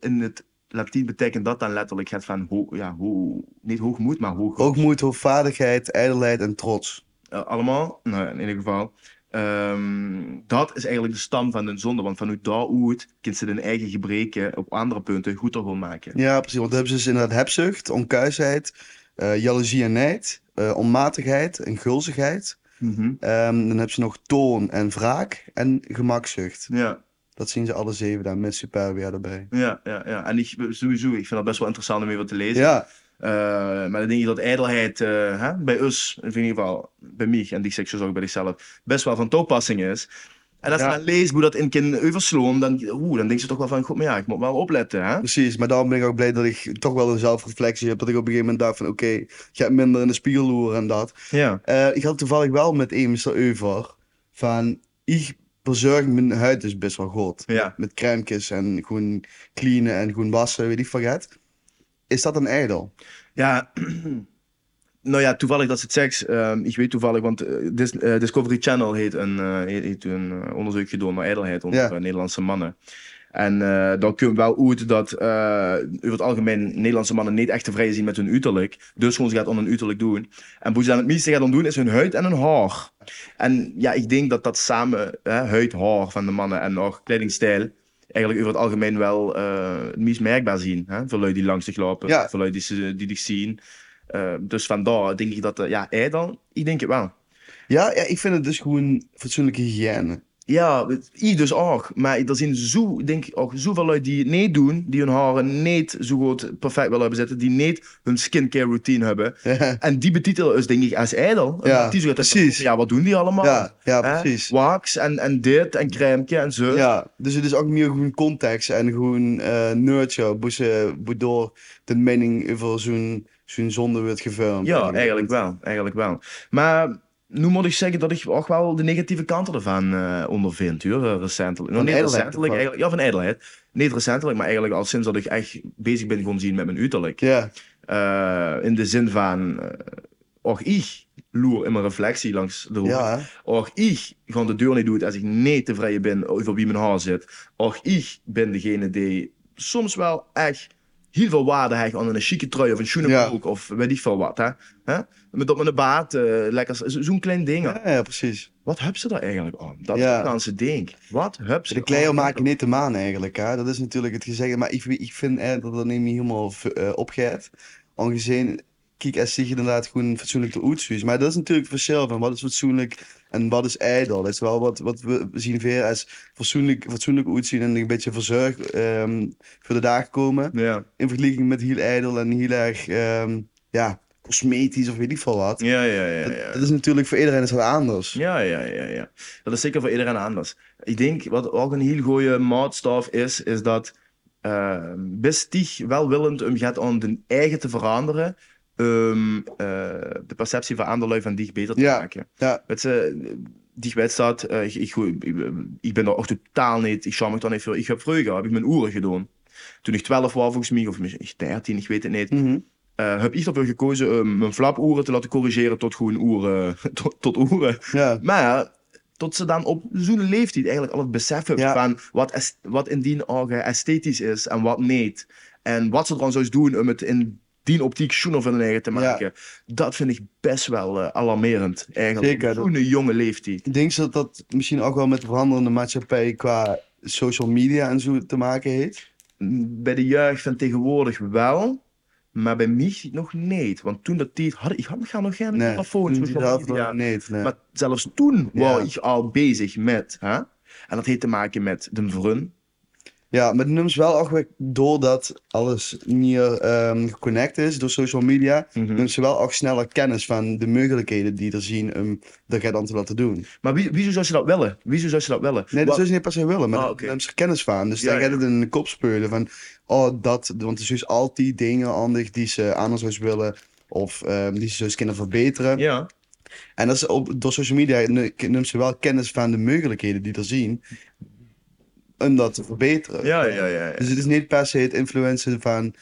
[SPEAKER 1] in het Latijn betekent dat dan letterlijk het van, ho, ja, ho, niet hoogmoed, maar hoog,
[SPEAKER 2] Hoogmoed, hoogvaardigheid, ijdelheid en trots.
[SPEAKER 1] eh, allemaal, nou, in ieder geval. Ehm, dat is eigenlijk de stam van de zonde, want vanuit daaruit kunnen ze hun eigen gebreken op andere punten goed ervan maken.
[SPEAKER 2] Ja, precies. Want dan hebben ze dus inderdaad hebzucht, onkuisheid, eh jaloezie en nijd, eh, onmatigheid en gulzigheid.
[SPEAKER 1] Mhm.
[SPEAKER 2] Ehm, dan heb ze nog toon en wraak en gemakzucht.
[SPEAKER 1] Ja,
[SPEAKER 2] Dat zien ze alle zeven daar met Superbia erbij.
[SPEAKER 1] ja, ja, ja. En ik, sowieso, ik vind dat best wel interessant om even te lezen.
[SPEAKER 2] Ja,
[SPEAKER 1] Eh, maar dan denk je dat ijdelheid eh, hè, bij us, of in ieder geval bij mij en die seksus ook bij zichzelf, best wel van toepassing is. En als je
[SPEAKER 2] Ja.
[SPEAKER 1] dan leest hoe dat in kind Uversloom, dan, oeh, dan denk je toch wel van, god, maar ja, ik moet wel opletten. Hè?
[SPEAKER 2] Precies, maar daarom ben ik ook blij dat ik toch wel een zelfreflectie heb. Dat ik op een gegeven moment dacht van oké, ik ga minder in de spiegel loeren en dat.
[SPEAKER 1] Ja.
[SPEAKER 2] Eh, ik had toevallig wel met Emis over van ik verzorg mijn huid dus best wel goed.
[SPEAKER 1] Ja.
[SPEAKER 2] Met crèmekes en gewoon cleanen en gewoon wassen, weet ik van het. Is dat een ijdel?
[SPEAKER 1] Ja, *clears throat* nou ja, toevallig dat ze het seks. ehm, ik weet toevallig, want eh, Dis- eh, Discovery Channel heet een, eh, heet, heet een eh, onderzoekje door naar ijdelheid onder
[SPEAKER 2] Ja.
[SPEAKER 1] eh, Nederlandse mannen. En eh dan kun je wel uit dat eh, over het algemeen Nederlandse mannen niet echt tevreden zien met hun uiterlijk. Dus gewoon ze gaat om hun uiterlijk doen. En hoe ze dan het meeste gaan doen is hun huid en hun haar. En ja, ik denk dat dat samen, hè, huid, haar van de mannen en nog kledingstijl, eigenlijk over het algemeen wel eh, het meest merkbaar zien. Hè? Voor lui die langs zich lopen,
[SPEAKER 2] Ja.
[SPEAKER 1] voor lui die, ze- die dich zien. Eh, dus vandaar denk ik dat, eh, ja, hij dan, ik denk het wel.
[SPEAKER 2] Ja, ja, ik vind het dus gewoon fatsoenlijke hygiëne. *laughs*
[SPEAKER 1] Ja, het- ik dus ook. Maar er zijn zo, denk ik ook, zoveel lui die het niet doen, die hun haren niet zo goed perfect willen hebben zitten, die niet hun skincare routine hebben. En die betitelen dus denk ik als ijdel.
[SPEAKER 2] Ja,
[SPEAKER 1] die zo gaat-
[SPEAKER 2] precies.
[SPEAKER 1] Ja, wat doen die allemaal?
[SPEAKER 2] ja, ja,
[SPEAKER 1] Hè?
[SPEAKER 2] precies.
[SPEAKER 1] Wax en, en dit en crème en zo.
[SPEAKER 2] Ja, dus het is ook meer gewoon context en gewoon eh nurture, boeze, waardoor de mening over zo'n zo'n zonde wordt gevormd.
[SPEAKER 1] Ja, eigenlijk wel. Eigenlijk wel. Maar nu moet ik zeggen dat ik ook wel de negatieve kanten ervan eh, ondervind, hoor, eh, recentelijk. Nog
[SPEAKER 2] Van
[SPEAKER 1] niet
[SPEAKER 2] ijdelheid, of wat?
[SPEAKER 1] recentelijk, eigenlijk. Ja, van ijdelheid. Niet recentelijk, maar eigenlijk al sinds dat ik echt bezig ben gewoon zien met mijn uiterlijk.
[SPEAKER 2] Ja,
[SPEAKER 1] Eh, in de zin van, eh ook ik loer in mijn reflectie langs de hoek.
[SPEAKER 2] ja. hè?
[SPEAKER 1] Ook ik ga de deur niet doen als ik niet tevreden ben over wie mijn haar zit. Ook ik ben degene die soms wel echt heel veel waarde heeft aan een chique trui of een schoene
[SPEAKER 2] Ja.
[SPEAKER 1] broek of weet ik veel wat. Hè? Hè? Met op mijn baat, eh, lekker zo- zo'n klein ding.
[SPEAKER 2] Ja, ja, precies.
[SPEAKER 1] Wat heb ze daar eigenlijk aan? Dat
[SPEAKER 2] Ja.
[SPEAKER 1] Nederlandse ding. Wat heb ze
[SPEAKER 2] De kleiner maken niet de maan eigenlijk, hè? dat is natuurlijk het gezegde. Maar ik, ik vind eh, dat dat niet meer helemaal v- eh, opgaat. Aangezien, kijk, als zich inderdaad gewoon fatsoenlijk de oets is. Maar dat is natuurlijk het verschil van wat is fatsoenlijk en wat is ijdel. Dat is wel wat, wat we zien veel als fatsoenlijk, fatsoenlijk oets zien en een beetje verzorg ehm, voor de dag komen.
[SPEAKER 1] Ja,
[SPEAKER 2] In vergelijking met heel ijdel en heel erg, ehm, ja, cosmetisch of weet ik veel wat.
[SPEAKER 1] ja, ja. ja, ja, ja.
[SPEAKER 2] Dat is natuurlijk voor iedereen is dat anders.
[SPEAKER 1] Ja, ja, ja, ja. Dat is zeker voor iedereen anders. Ik denk wat ook een heel goede maatstaf is, is dat eh, best die welwillend om gaat om de eigen te veranderen, ehm, eh, de perceptie van anderen van die beter te
[SPEAKER 2] Ja,
[SPEAKER 1] maken. eh,
[SPEAKER 2] ja.
[SPEAKER 1] Weet je, die wedstrijd, eh, ik, ik, goe- ik, ik ben daar ook totaal niet, ik charme me daar niet voor. Ik heb vroeger, heb ik mijn oeren gedaan. Toen ik 12 was, volgens mij, of misschien 13, ik weet het niet.
[SPEAKER 2] Mhm.
[SPEAKER 1] eh, heb ik ervoor gekozen om mijn flapoeren te laten corrigeren tot gewoon oeren, *laughs* tot, tot oeren.
[SPEAKER 2] ja.
[SPEAKER 1] Maar ja, tot ze dan op zo'n leeftijd eigenlijk al het besef hebben
[SPEAKER 2] Ja.
[SPEAKER 1] van wat, est- wat in die ogen esthetisch is en wat niet. En wat ze er dan zouden doen om het in die optiek schoener van hun eigen te
[SPEAKER 2] Ja.
[SPEAKER 1] maken. Dat vind ik best wel eh, alarmerend eigenlijk.
[SPEAKER 2] Zeker,
[SPEAKER 1] Op
[SPEAKER 2] dat-
[SPEAKER 1] Zo'n jonge leeftijd.
[SPEAKER 2] Ik denk dat dat misschien ook wel met de veranderende maatschappij qua social media en zo te maken heeft.
[SPEAKER 1] Bij de jeugd van tegenwoordig wel. Maar bij mij nog niet. Want toen dat tijd had ik had nog geen
[SPEAKER 2] Nee,
[SPEAKER 1] telefoon.
[SPEAKER 2] Toen
[SPEAKER 1] social
[SPEAKER 2] zelf
[SPEAKER 1] media.
[SPEAKER 2] nog niet, nee.
[SPEAKER 1] Maar zelfs toen
[SPEAKER 2] Ja.
[SPEAKER 1] was ik al bezig met. Hè? En dat heeft te maken met de vrun.
[SPEAKER 2] Ja, maar het neemt wel ook weer doordat alles meer ehm, geconnect is door social media.
[SPEAKER 1] Mhm.
[SPEAKER 2] Neemt ze wel ook sneller kennis van de mogelijkheden die er zien om dat jij dan te laten doen.
[SPEAKER 1] Maar wie, wieso zou je dat willen? Wieso zou je dat willen?
[SPEAKER 2] Nee, dat
[SPEAKER 1] Wat-
[SPEAKER 2] zou ze niet per se willen, maar
[SPEAKER 1] Ah,
[SPEAKER 2] daar
[SPEAKER 1] oké.
[SPEAKER 2] neemt ze kennis van. Dus
[SPEAKER 1] Ja,
[SPEAKER 2] dan
[SPEAKER 1] ja.
[SPEAKER 2] gaat het in de kop speuren van, oh dat, want er zijn dus al die dingen anders die ze anders zou willen of ehm, die ze zou eens kunnen verbeteren.
[SPEAKER 1] Ja,
[SPEAKER 2] En dat is op, door social media ne- neemt ze wel kennis van de mogelijkheden die er zien om dat te verbeteren.
[SPEAKER 1] ja, ja, ja.
[SPEAKER 2] Dus het is niet per se het influencen van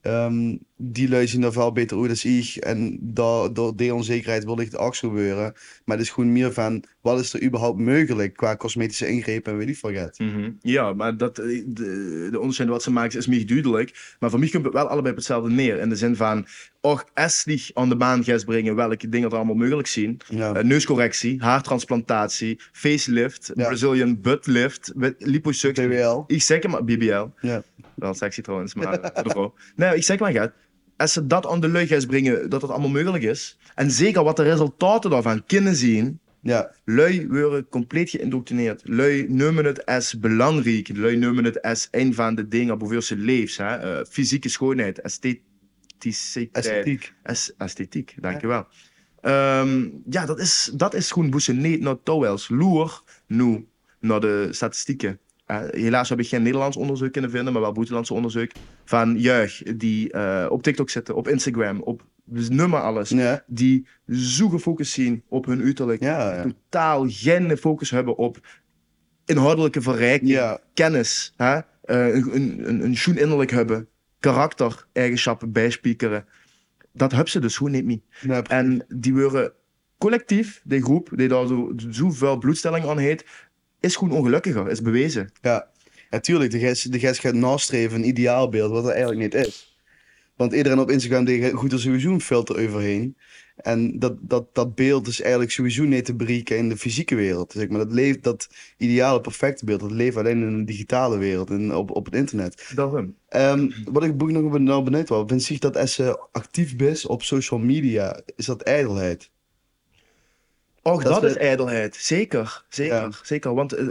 [SPEAKER 2] ehm, die lui zien er wel beter uit als ik en door, door die onzekerheid wil ik het ook gebeuren. Maar het is gewoon meer van wat is er überhaupt mogelijk qua cosmetische ingrepen en weet ik veel wat.
[SPEAKER 1] Mhm. Ja, maar dat, eh, de, de onderscheid wat ze maken is meer duidelijk. Maar voor mij komt het wel allebei op hetzelfde neer. In de zin van, och, als die aan de baan gaat brengen welke dingen er allemaal mogelijk zijn.
[SPEAKER 2] Ja.
[SPEAKER 1] Eh, neuscorrectie, haartransplantatie, facelift,
[SPEAKER 2] Ja.
[SPEAKER 1] Brazilian butt lift, met liposuctie.
[SPEAKER 2] BWL.
[SPEAKER 1] Ik zeg maar, BBL.
[SPEAKER 2] Ja.
[SPEAKER 1] Wel sexy trouwens, maar eh, voor de vrouw. Nee, ik zeg maar, gaat. Als ze dat aan de luchthuis brengen, dat dat allemaal mogelijk is. En zeker wat de resultaten daarvan kunnen zien.
[SPEAKER 2] Ja.
[SPEAKER 1] Lui worden compleet geïndoctrineerd. Lui noemen het als belangrijk. Lui noemen het als een van de dingen waarvoor ze leeft. Hè? Eh, fysieke schoonheid, estheticiteit.
[SPEAKER 2] Esthetiek.
[SPEAKER 1] Es- esthetiek, dankjewel. Ehm ja, dat is, dat is gewoon niet naar Towels. Loer nu naar de statistieken. Eh, helaas heb ik geen Nederlands onderzoek kunnen vinden, maar wel buitenlandse onderzoek. Van jeugd die eh, op TikTok zitten, op Instagram, op nummer alles.
[SPEAKER 2] Ja,
[SPEAKER 1] Die zo gefocust zien op hun uiterlijk.
[SPEAKER 2] ja, ja.
[SPEAKER 1] eh, Totaal geen focus hebben op inhoudelijke verrijking
[SPEAKER 2] Ja,
[SPEAKER 1] kennis, hè? eh, een, een, een, een schoen innerlijk hebben, karakter, eigenschappen bijspiekeren. Dat hebben ze dus gewoon niet meer.
[SPEAKER 2] nee, pre-
[SPEAKER 1] En die worden collectief, die groep, die daar zo, zoveel bloedstelling aan heet, is gewoon ongelukkiger, is bewezen.
[SPEAKER 2] ja. Natuurlijk, de gest, de gest gaat nastreven een ideaalbeeld, wat er eigenlijk niet is. Want iedereen op Instagram die goed er sowieso een filter overheen. En dat, dat, dat beeld is eigenlijk sowieso niet te berieken in de fysieke wereld. Zeg maar dat, leeft, dat ideale, perfecte beeld, dat leeft alleen in de digitale wereld en op, op het internet.
[SPEAKER 1] Daarom.
[SPEAKER 2] Ehm, wat ik boek nog ben- nou benieuwd was, vind je dat als je actief bent op social media, is dat ijdelheid?
[SPEAKER 1] Ook dat,
[SPEAKER 2] Dat we-
[SPEAKER 1] is ijdelheid. Zeker, zeker,
[SPEAKER 2] Ja.
[SPEAKER 1] zeker. Want eh,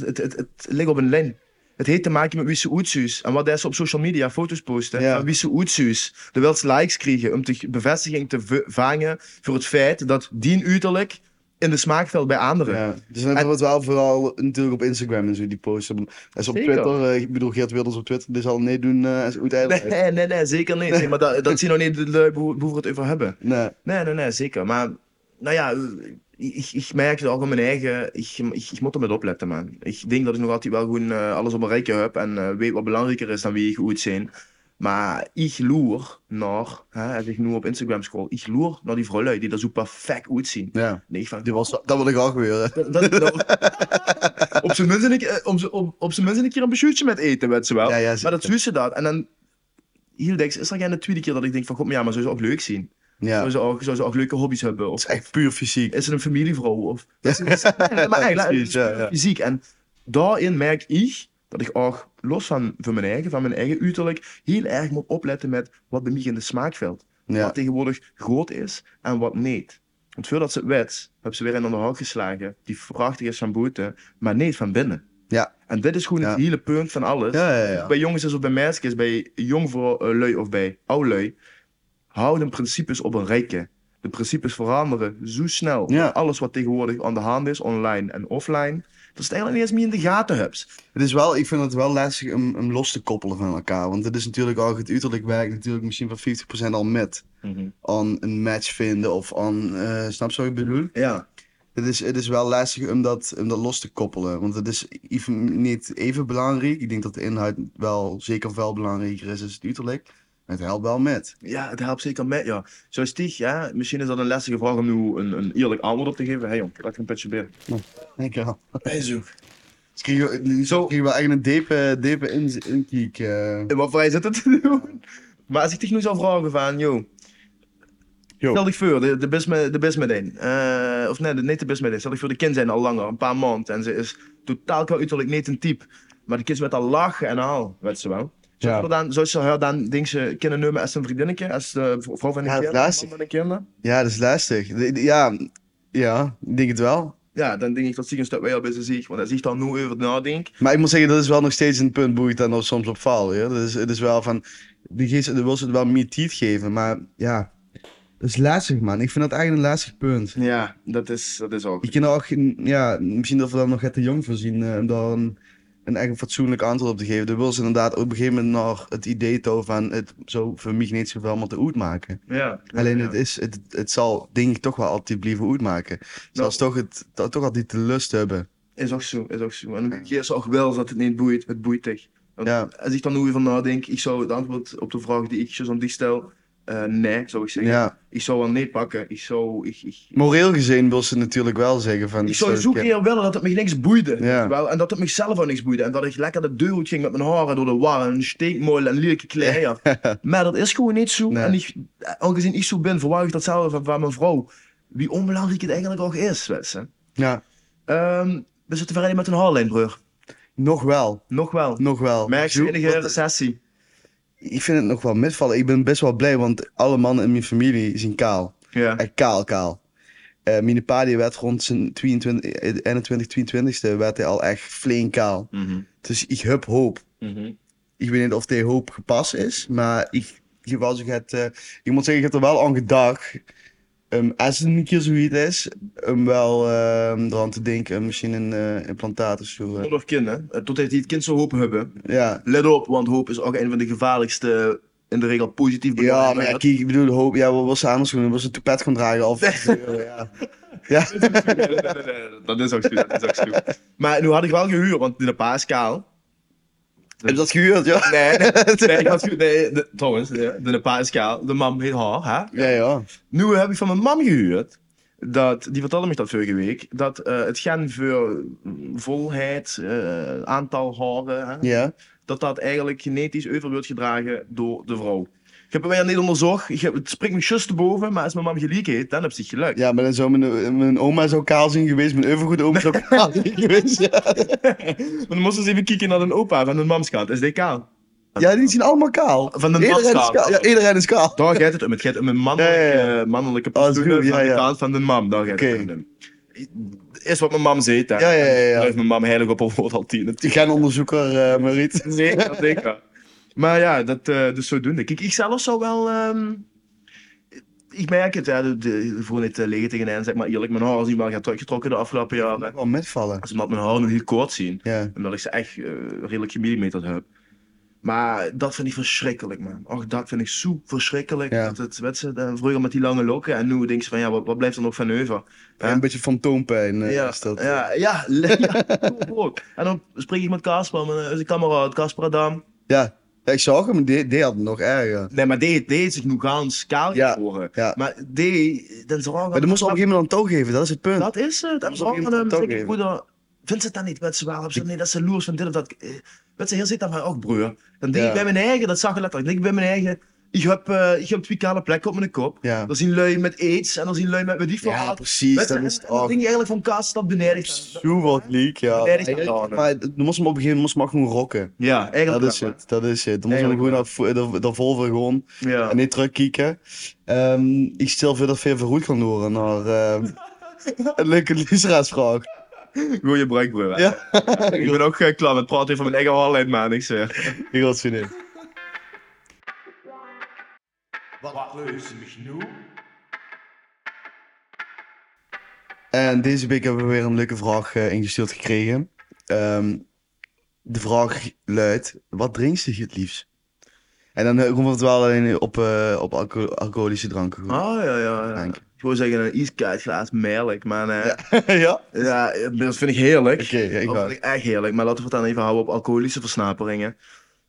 [SPEAKER 1] het, het, het ligt op een lijn. Het heeft te maken met wie ze oetsuus. En wat ze op social media foto's posten.
[SPEAKER 2] Ja.
[SPEAKER 1] En wie ze oetsuus. De wilst likes krijgen om de bevestiging te v- vangen voor het feit dat die uiterlijk in de smaak valt bij anderen.
[SPEAKER 2] Ja. Dus dan hebben we het wel vooral natuurlijk op Instagram en zo die posten. En zo op
[SPEAKER 1] Zeker.
[SPEAKER 2] Twitter, eh, ik bedoel Geert Wilders op Twitter, die zal nee doen eh als uit ijdelheid. Nee.
[SPEAKER 1] Nee, nee, nee, zeker niet. Nee, maar dat, dat zien nog niet de lui hoe hoe we het over hebben. Nee, nee, nee, zeker. Maar, nou ja, ik, ik merk het ook aan mijn eigen. Ik, ik, ik moet er met opletten, man. Ik denk dat ik nog altijd wel gewoon eh, alles op mijn rijtje heb en eh, weet wat belangrijker is dan wie ik goed zijn. Maar ik loer naar, hè, als ik nu op Instagram scroll, ik loer naar die vrouwen die er zo perfect uitzien.
[SPEAKER 2] Ja.
[SPEAKER 1] Nee, ik van,
[SPEAKER 2] Die was, dat wil ik al gebeuren.
[SPEAKER 1] dat, dat, dat-
[SPEAKER 2] *laughs*
[SPEAKER 1] op zijn minst een keer- eh, om z'n- op- op zijn minst een keer een beschuitje met eten, weet ze wel.
[SPEAKER 2] Ja, ja,
[SPEAKER 1] maar
[SPEAKER 2] zeker.
[SPEAKER 1] dat wist ze dat. En dan, heel dikst, is dat geen de tweede keer dat ik denk van, god, maar ja, maar zou ze ook leuk zien?
[SPEAKER 2] Ja.
[SPEAKER 1] Zou, ze ook, zou ze ook leuke hobby's hebben? Of,
[SPEAKER 2] Het is echt puur fysiek.
[SPEAKER 1] is het een familievrouw? Of, dat is, *laughs* nee, maar eigenlijk, het is
[SPEAKER 2] Precies, ja, ja.
[SPEAKER 1] fysiek. En daarin merk ik dat ik ook, los van, van mijn eigen, van mijn eigen uiterlijk, heel erg moet opletten met wat bij mij in de smaak valt.
[SPEAKER 2] Ja.
[SPEAKER 1] Wat tegenwoordig groot is en wat niet. Want voordat ze het weet, hebben ze weer in de hout geslagen, die prachtig is van buiten, maar niet van binnen.
[SPEAKER 2] Ja.
[SPEAKER 1] En dit is gewoon het
[SPEAKER 2] Ja.
[SPEAKER 1] hele punt van alles.
[SPEAKER 2] Ja, ja, ja.
[SPEAKER 1] Bij jongens is of bij meisjes, bij jonglui of bij oudlui, houden principes op een rijke. De principes veranderen zo snel.
[SPEAKER 2] Ja.
[SPEAKER 1] Alles wat tegenwoordig aan de hand is, online en offline, dat is het eigenlijk niet eens meer in de gaten hebt.
[SPEAKER 2] Het is wel, ik vind het wel lastig om, om los te koppelen van elkaar. Want het is natuurlijk al het uiterlijk werkt natuurlijk misschien van 50% al met. Aan een match vinden of aan, eh, snap je wat ik bedoel?
[SPEAKER 1] Ja.
[SPEAKER 2] Het is, het is wel lastig om dat, om dat los te koppelen. Want het is even, niet even belangrijk. Ik denk dat de inhoud wel zeker wel belangrijker is dan het uiterlijk. Maar het helpt wel met.
[SPEAKER 1] ja, het helpt zeker met, ja. Zoals Tig, ja, misschien is dat een lastige vraag om nu een, een eerlijk antwoord op te geven. Hé hey, jong, laat ik een putje binnen.
[SPEAKER 2] Dankjewel.
[SPEAKER 1] *laughs* Bijzoek.
[SPEAKER 2] Dus kreeg je, nu
[SPEAKER 1] Zo.
[SPEAKER 2] kreeg je wel echt een diepe, diepe in- inkiek. eh.
[SPEAKER 1] En wat vrij zit het *laughs* te doen? Maar als ik Tig nu zou vragen van, joh,
[SPEAKER 2] Yo.
[SPEAKER 1] Stel ik voor, de, de best met, de best met een. Eh, of nee, de, niet de best met een. Stel ik voor, de kind zijn al langer, een paar maanden. En ze is totaal qua uiterlijk niet een type. Maar de kind met al lachen en al, weet ze wel. Zou,
[SPEAKER 2] Ja.
[SPEAKER 1] ze dan, zou ze haar dan denk ze, kunnen nemen als een vriendinnetje? Als de v- vrouw van een
[SPEAKER 2] Ja,
[SPEAKER 1] kind?
[SPEAKER 2] dat is
[SPEAKER 1] man van een kind?
[SPEAKER 2] Ja, dat is lastig. De- de- Ja, ja, ik denk het wel.
[SPEAKER 1] Ja, dan denk ik dat ze een stuk wel bij ze zich. Want als ik daar nu over nadenk.
[SPEAKER 2] Maar ik moet zeggen, dat is wel nog steeds een punt boeit dan nog soms op faal. Ja? Dus het is wel van, die geest die wil ze het wel meer tijd geven. Maar ja, dat is lastig man. Ik vind dat eigenlijk een lastig punt.
[SPEAKER 1] Ja, dat is, dat is ook.
[SPEAKER 2] Ik kan er ook, geen- ja, misschien dat we daar nog het te jong voor zien eh, om daar een, een echt een fatsoenlijk antwoord op te geven. Dan wil ze inderdaad op een gegeven moment nog het idee toe van het zo voor mij niet zoveel maar te uitmaken.
[SPEAKER 1] Ja.
[SPEAKER 2] Alleen
[SPEAKER 1] ja.
[SPEAKER 2] het, is, het, het zal denk ik toch wel altijd blijven uitmaken. Ze zal
[SPEAKER 1] Nou.
[SPEAKER 2] toch, het, to- toch altijd de lust hebben.
[SPEAKER 1] Is ook zo, is ook zo. En ik is ook wel dat het niet boeit, het boeit echt. Want
[SPEAKER 2] Ja.
[SPEAKER 1] Als ik dan nu even nadenk, ik zou het antwoord op de vraag die ik zo aan die stel, eh, nee, zou ik zeggen.
[SPEAKER 2] Ja.
[SPEAKER 1] Ik zou wel nee pakken. Ik zou, ik, ik,
[SPEAKER 2] Moreel gezien wil ze natuurlijk wel zeggen van...
[SPEAKER 1] ik zou zo keer willen dat het me niks boeide.
[SPEAKER 2] Ja.
[SPEAKER 1] Wel, en dat het mezelf ook niks boeide. En dat ik lekker de deur uit ging met mijn haren door de war en steekmolen en lelijke
[SPEAKER 2] *laughs*
[SPEAKER 1] kleren. Maar dat is gewoon niet zo.
[SPEAKER 2] Nee.
[SPEAKER 1] En ik, aangezien ik zo ben, verwacht ik datzelfde van, van mijn vrouw. Wie onbelangrijk het eigenlijk ook is, weet je.
[SPEAKER 2] Ja,
[SPEAKER 1] Ehm, we zitten verder met een haarlijn, broer.
[SPEAKER 2] nog wel.
[SPEAKER 1] Nog wel.
[SPEAKER 2] Nog wel.
[SPEAKER 1] Merk
[SPEAKER 2] Zo-
[SPEAKER 1] je enige
[SPEAKER 2] want-
[SPEAKER 1] recessie.
[SPEAKER 2] Ik vind het nog wel misvallen. Ik ben best wel blij, want alle mannen in mijn familie zijn kaal.
[SPEAKER 1] Ja.
[SPEAKER 2] Echt kaal, kaal. Eh mijn pa die werd rond zijn 22, eh, 21, 22ste werd hij al echt flink kaal. Dus ik heb hoop. Ik weet niet of die hoop gepast is, maar ik geval, je gaat, eh, ik moet zeggen, ik heb er wel aan gedacht. ehm, als het een keer zoiets is, om wel ehm eraan te denken, om misschien een eh, implantaat of zo. eh.
[SPEAKER 1] Moeder of kind, hè? Eh, Tot hij het kind zo hoop hebben.
[SPEAKER 2] Ja.
[SPEAKER 1] Let op, want hoop is ook een van de gevaarlijkste, in de regel positief
[SPEAKER 2] Ja,
[SPEAKER 1] benaderde
[SPEAKER 2] maar ja,
[SPEAKER 1] mensen.
[SPEAKER 2] kijk, ik bedoel, hoop, ja, wat was ze anders doen? Was ze een toepet gaan dragen? Of, *laughs* ja. ja.
[SPEAKER 1] Nee, nee, nee, nee, nee, Dat is ook goed, dat is ook goed. Maar nu had ik wel gehuurd, want de pa is kaal.
[SPEAKER 2] Heb je dat gehuurd, ja?
[SPEAKER 1] Nee, nee, nee, dat is goed. Nee, de, trouwens, de, de pa is kaal, de mam heet haar, hè?
[SPEAKER 2] *laughs* Ja, ja.
[SPEAKER 1] Nu heb ik van mijn mam gehuurd. Dat, die vertelde me dat vorige week. Dat eh, het gen voor volheid, eh, aantal haren, hè,
[SPEAKER 2] Ja.
[SPEAKER 1] dat dat eigenlijk genetisch over wordt gedragen door de vrouw. Ik heb het weer niet onderzocht. Ik heb, het springt me just te boven, maar als mijn mam gelijk heet, dan heb ze het gelukt.
[SPEAKER 2] Ja, maar dan zou mijn, mijn oma zou kaal zijn geweest, mijn overgoed
[SPEAKER 1] *laughs*
[SPEAKER 2] oma zou kaal zijn geweest. Ja,
[SPEAKER 1] Maar dan moesten ze even kijken naar een opa van een mamskant. Is die kaal?
[SPEAKER 2] ja die zien allemaal kaal.
[SPEAKER 1] Van de
[SPEAKER 2] Iedereen is
[SPEAKER 1] mamskant.
[SPEAKER 2] kaal. Ja, iedereen is kaal.
[SPEAKER 1] Daar gaat het om. Het gaat om een mannelijke,
[SPEAKER 2] Ja, ja,
[SPEAKER 1] mannelijke
[SPEAKER 2] Oh, dat is
[SPEAKER 1] postuur
[SPEAKER 2] goed, ja,
[SPEAKER 1] van de
[SPEAKER 2] ja.
[SPEAKER 1] kant van de mam. Daar gaat het
[SPEAKER 2] Oké.
[SPEAKER 1] om. Is wat mijn mam zei. hè.
[SPEAKER 2] Ja, ja, ja, ja.
[SPEAKER 1] Daar heeft mijn mam heilig op een woord al tien.
[SPEAKER 2] Die gaan onderzoeker, eh Mariet.
[SPEAKER 1] Zeker, zeker. Maar ja, dat, eh, dus zodoende. Kijk, ik zelf zou wel... ehm, ik merk het, hè, de, de, voor niet te liggen tegen hen, zeg maar eerlijk. Mijn haar is niet wel getro- getrokken de afgelopen jaren.
[SPEAKER 2] Wel metvallen.
[SPEAKER 1] Ze laat mijn haar nog heel kort zien.
[SPEAKER 2] Ja.
[SPEAKER 1] Omdat ik ze echt eh, redelijk gemillimeterd heb. Maar dat vind ik verschrikkelijk, man. Och, dat vind ik zo verschrikkelijk.
[SPEAKER 2] Ja.
[SPEAKER 1] Dat het, weet ze, eh, vroeger met die lange lokken en nu denk ze van, ja, wat, wat blijft er nog van over? Ja.
[SPEAKER 2] Een beetje fantoompijn eh,
[SPEAKER 1] ja,
[SPEAKER 2] is dat.
[SPEAKER 1] ja, ja, le-
[SPEAKER 2] *laughs*
[SPEAKER 1] ja, kom ook. En dan spreek ik met Casper, mijn eh, onze kameraad, Casper Adam.
[SPEAKER 2] Ja. Ja, ik zag hem, die, die had het nog erger.
[SPEAKER 1] Nee, maar die, die is zich nu gans kaal
[SPEAKER 2] Ja,
[SPEAKER 1] geworden.
[SPEAKER 2] ja.
[SPEAKER 1] eh. Maar die, dan zorgen
[SPEAKER 2] Maar dat moest op een gegeven moment aan toe geven, dat is het punt.
[SPEAKER 1] Hm. Dat is eh, het. En
[SPEAKER 2] moest op
[SPEAKER 1] zorgen
[SPEAKER 2] een
[SPEAKER 1] dat hem,
[SPEAKER 2] gegeven
[SPEAKER 1] zeg
[SPEAKER 2] moment
[SPEAKER 1] ik, broeder, vindt ze het dan niet, weet ze wel, of ze nee, dat ze loers van dit of dat. eh, Weet ze, hier zit dan maar ook, oh, broer. Dan denk
[SPEAKER 2] Ja.
[SPEAKER 1] ik bij mijn eigen, dat zag je letterlijk, denk ik bij mijn eigen, ik heb, eh, ik heb twee kale plekken op mijn kop.
[SPEAKER 2] Ja.
[SPEAKER 1] Dan zien lui met aids en dan zien lui met, met die verhaal.
[SPEAKER 2] Ja, precies,
[SPEAKER 1] Weet je,
[SPEAKER 2] dat
[SPEAKER 1] en-
[SPEAKER 2] is het
[SPEAKER 1] en dan
[SPEAKER 2] ook.
[SPEAKER 1] denk je eigenlijk van kaas dat beneden.
[SPEAKER 2] Zo wat leak, ja.
[SPEAKER 1] Nee, dat is niet aan.
[SPEAKER 2] Maar het- dan moest hem op een gegeven moment moest hem maar gewoon rocken.
[SPEAKER 1] Ja, eigenlijk
[SPEAKER 2] Dat is
[SPEAKER 1] wel,
[SPEAKER 2] het, dat is het. Dan moest hem
[SPEAKER 1] Eigenlijk
[SPEAKER 2] gewoon
[SPEAKER 1] wel.
[SPEAKER 2] naar vo- daar- daarvoor voor gewoon
[SPEAKER 1] Ja.
[SPEAKER 2] en niet terugkijken. Ehm, ik stel voor dat veel verroet kan horen naar ehm, een leuke luisteraarsvraag.
[SPEAKER 1] Goeie bruikbroer.
[SPEAKER 2] Ja,
[SPEAKER 1] *laughs* Ik ben ook eh, klaar met praten over mijn eigen haarlijn, man. Ik zeg.
[SPEAKER 2] ik was zo niet.
[SPEAKER 3] Wat leuze mich nu?
[SPEAKER 2] En deze week hebben we weer een leuke vraag eh, ingestuurd gekregen. Ehm, de vraag luidt: wat drinkt je het liefst? En dan eh, komt het wel alleen op, eh, op alco- alcoholische dranken. goed.
[SPEAKER 1] Oh ja, ja. ja.
[SPEAKER 2] Dank.
[SPEAKER 1] Ik wou zeggen een ijskoud glaas melk, maar eh, ja.
[SPEAKER 2] *laughs* ja? Oké,
[SPEAKER 1] dat vind ik heerlijk.
[SPEAKER 2] ja, ik
[SPEAKER 1] dat
[SPEAKER 2] ga.
[SPEAKER 1] vind ik echt heerlijk, maar laten we het dan even houden op alcoholische versnaperingen.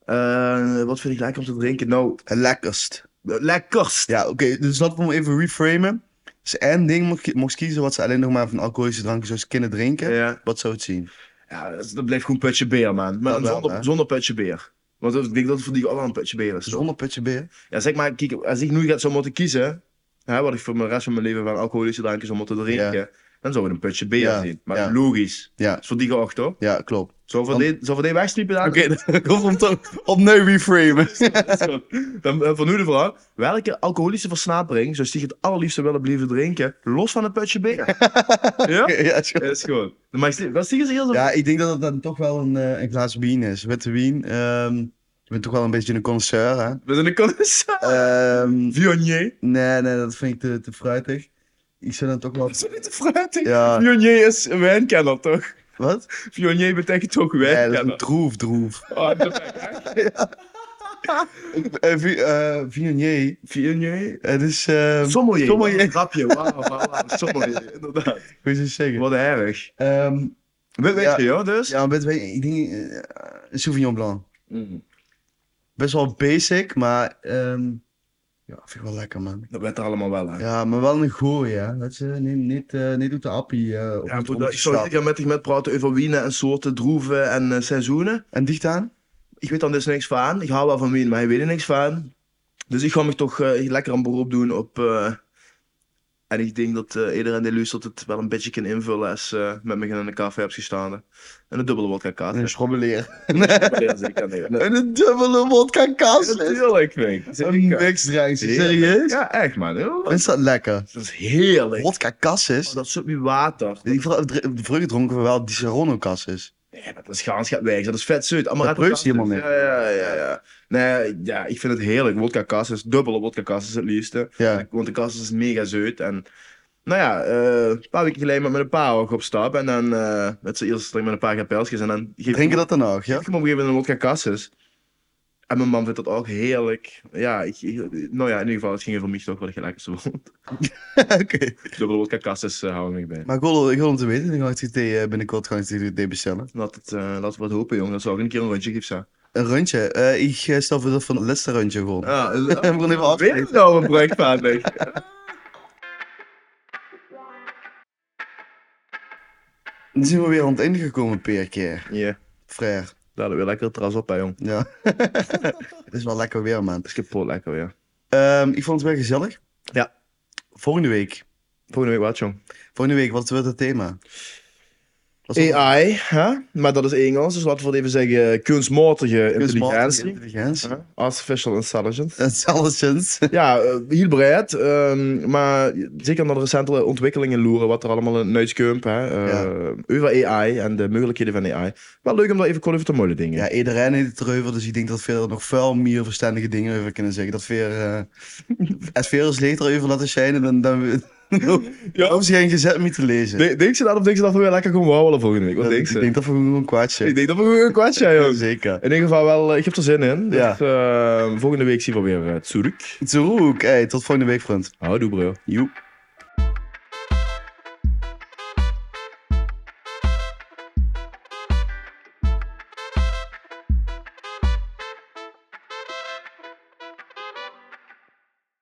[SPEAKER 1] Eh, wat vind ik lekker om te drinken? Nou,
[SPEAKER 2] Het lekkerst.
[SPEAKER 1] lekkerst.
[SPEAKER 2] Ja, oké, dus laten we hem even reframen. Dus één ding mocht, je- mocht kiezen wat ze alleen nog maar van alcoholische dranken zou kunnen drinken.
[SPEAKER 1] Ja.
[SPEAKER 2] Wat zou het zien?
[SPEAKER 1] Ja, dat, dat blijft gewoon putje beer, man. Maar
[SPEAKER 2] Dat wel,
[SPEAKER 1] zonder,
[SPEAKER 2] hè?
[SPEAKER 1] zonder putje beer. Want dat- ik denk dat het voor die ook wel een putje beer is. toch?
[SPEAKER 2] Zonder putje beer.
[SPEAKER 1] Ja, zeg maar, kijk, als ik nu ga- zou moeten kiezen, hè, wat ik voor de rest van mijn leven van alcoholische drankjes zou moeten drinken, dan zou het een putje beer
[SPEAKER 2] Ja,
[SPEAKER 1] zijn. Maar
[SPEAKER 2] ja.
[SPEAKER 1] logisch.
[SPEAKER 2] Ja.
[SPEAKER 1] Dat is voor die geacht, toch?
[SPEAKER 2] Ja, klopt.
[SPEAKER 1] Zo voor
[SPEAKER 2] Dan-
[SPEAKER 1] die, zo voor die wegstrepen dan?
[SPEAKER 2] Oké, *laughs* dan komt hem toch opnieuw reframen.
[SPEAKER 1] Zo. dan eh, voor nu de vraag. Welke alcoholische versnapering zou Stieg het allerliefste willen blijven drinken, los van een putje
[SPEAKER 2] *laughs*
[SPEAKER 1] bier? ja?
[SPEAKER 2] ja, is goed.
[SPEAKER 1] Dat is gewoon. Maar Stieg- wel, Stieg is heel zo...
[SPEAKER 2] Ja, ik denk dat het dan toch wel een, eh, een glaas wien is. Witte wien. ehm, je bent toch wel een beetje een connoisseur, hè?
[SPEAKER 1] We zijn een connoisseur.
[SPEAKER 2] Ehm,
[SPEAKER 1] Viognier.
[SPEAKER 2] nee, nee, dat vind ik te, te fruitig. Ik zou dan toch wel...
[SPEAKER 1] Dat is niet te fruitig.
[SPEAKER 2] Ja.
[SPEAKER 1] Viognier is een wijnkenner, toch?
[SPEAKER 2] Wat?
[SPEAKER 1] Viognier betekent toch
[SPEAKER 2] Ja, dat is *laughs*
[SPEAKER 1] wijnkenner?
[SPEAKER 2] een droef, droef.
[SPEAKER 1] Oh, perfect.
[SPEAKER 2] Eh, vi- eh, Viognier,
[SPEAKER 1] Viognier.
[SPEAKER 2] het is... ehm,
[SPEAKER 1] Sommelier.
[SPEAKER 2] Sommelier.
[SPEAKER 1] Wat een Grapje, wauw, wauw, wauw.
[SPEAKER 2] *laughs*
[SPEAKER 1] Sommelier, inderdaad.
[SPEAKER 2] Hoe is het zeggen?
[SPEAKER 1] Wat erg.
[SPEAKER 2] Ehm,
[SPEAKER 1] Weet, weet
[SPEAKER 2] Ja.
[SPEAKER 1] je, joh, dus?
[SPEAKER 2] ja, witte wien, ik denk... eh, Sauvignon Blanc.
[SPEAKER 1] Mm.
[SPEAKER 2] Best wel basic, maar... ehm, ja, vind ik wel lekker, man.
[SPEAKER 1] Dat werd er allemaal wel, hè?
[SPEAKER 2] Ja, maar wel een goeie, hè? Weet je, niet, niet, eh, niet op de appie. eh, op
[SPEAKER 1] Ja, broer,
[SPEAKER 2] het
[SPEAKER 1] dat- ik
[SPEAKER 2] onderste
[SPEAKER 1] zou
[SPEAKER 2] stap.
[SPEAKER 1] zeker met je met praten over wienen en soorten, droeven en eh, seizoenen.
[SPEAKER 2] En dicht aan?
[SPEAKER 1] Ik weet dan dus niks van. Ik hou wel van wien, maar hij weet er niks van. Dus ik ga me toch eh, lekker een beroep doen op... eh, en ik denk dat eh, iedereen die luistert het wel een beetje kan invullen als eh, met me in een café hebt gestaan. hè. En een dubbele wodka kaart.
[SPEAKER 2] Een
[SPEAKER 1] Nee,
[SPEAKER 2] schrobbeleer.
[SPEAKER 1] zeker niet. Nee,
[SPEAKER 2] En een dubbele wodka kastles.
[SPEAKER 1] Natuurlijk, Frank.
[SPEAKER 2] Een
[SPEAKER 1] Zeker.
[SPEAKER 2] mixdrankje,
[SPEAKER 1] Heerlijk.
[SPEAKER 2] serieus?
[SPEAKER 1] Ja, echt, man. Heel-
[SPEAKER 2] Is dat lekker?
[SPEAKER 1] Dat is heerlijk.
[SPEAKER 2] Wodka kasses?
[SPEAKER 1] Oh, dat soort wie water.
[SPEAKER 2] Die vro- dr- Vroeger dronken we wel die Serrano kasses.
[SPEAKER 1] Nee, maar dat is gaans gaat weg. Dat is vet zoet. Amaretto
[SPEAKER 2] preukt
[SPEAKER 1] kaas is-
[SPEAKER 2] helemaal niet.
[SPEAKER 1] Ja, ja, ja, ja. Nee, ja, ik vind het heerlijk. Wodka kaas is dubbele wodka kaas is het liefste.
[SPEAKER 2] Ja.
[SPEAKER 1] Eh, Want de kast is mega zoet. En nou ja, eh, een paar weken geleden met een paar ook op stap. En dan eh, met z'n eerste drink met een paar kapeltjes. En dan geef
[SPEAKER 2] Drinken dat dan nog, ja?
[SPEAKER 1] ik hem op een gegeven moment een wodka kassus. En mijn man vindt dat ook heerlijk. Ja, ik, ik- nou ja, in ieder geval, het ging er voor mij toch wel gelijk zo.
[SPEAKER 2] *laughs*
[SPEAKER 1] *laughs*
[SPEAKER 2] Oké.
[SPEAKER 1] Dubbele wodka kassus eh, houden we niet bij.
[SPEAKER 2] Maar ik wil, ik wil hem te weten. Ik ga het GT eh, binnenkort gewoon het GT bestellen.
[SPEAKER 1] Laat het, eh, laten we het hopen, jongen. Dat zou ook een keer een rondje geven. zijn.
[SPEAKER 2] Een rondje. Eh, ik eh, stel voor dat van het laatste rondje gewoon.
[SPEAKER 1] Ja,
[SPEAKER 2] *laughs* We gaan even afspreken.
[SPEAKER 1] Weer nou een projectvaardig.
[SPEAKER 2] Dan zijn we weer aan het einde gekomen, Peerke.
[SPEAKER 1] *laughs* Ja,
[SPEAKER 2] Frère.
[SPEAKER 1] daar weer lekker het terras op, hè, jong.
[SPEAKER 2] Ja. *laughs* Het is wel lekker weer, man.
[SPEAKER 1] Het is kapot lekker weer.
[SPEAKER 2] Ehm, ik vond het wel gezellig.
[SPEAKER 1] Ja.
[SPEAKER 2] Volgende week.
[SPEAKER 1] Volgende week wat, jong.
[SPEAKER 2] Volgende week, wat wordt het thema? Wat is het?
[SPEAKER 1] AI, hè? maar dat is Engels, dus laten we het even zeggen kunstmatige
[SPEAKER 2] Kunstmatige
[SPEAKER 1] intelligentie.
[SPEAKER 2] Intelligentie. *laughs*
[SPEAKER 1] hè? Artificial intelligence.
[SPEAKER 2] Intelligence.
[SPEAKER 1] Ja, eh, heel breed, ehm, maar zeker naar de recente ontwikkelingen loeren, wat er allemaal in huis komt, hè, eh,
[SPEAKER 2] Ja.
[SPEAKER 1] over AI en de mogelijkheden van AI. Wel leuk om daar even kort over te molen dingen.
[SPEAKER 2] Ja, iedereen heeft het erover, dus ik denk dat veel nog veel meer verstandige dingen over kunnen zeggen. Dat veel, eh *laughs* als veel is later over laten schijnen, dan, dan *laughs* we-
[SPEAKER 1] Ja.
[SPEAKER 2] hoeven ze geen gezet meer te lezen.
[SPEAKER 1] De- Denk ze dat of denk ze dat we weer lekker gewoon wauwelen volgende week? Wat
[SPEAKER 2] Dat-
[SPEAKER 1] denk
[SPEAKER 2] ik
[SPEAKER 1] ze?
[SPEAKER 2] denk dat we gewoon een
[SPEAKER 1] Ik
[SPEAKER 2] kwaadje.
[SPEAKER 1] denk dat we gewoon een kwartje hebben, jongens.
[SPEAKER 2] Zeker.
[SPEAKER 1] In ieder geval wel, eh, ik heb er zin in.
[SPEAKER 2] Ja.
[SPEAKER 1] Dus, eh, volgende week zien we weer eh, terug.
[SPEAKER 2] Zoek, hey, tot volgende week, vriend.
[SPEAKER 1] Houdoe bro.
[SPEAKER 2] Joep.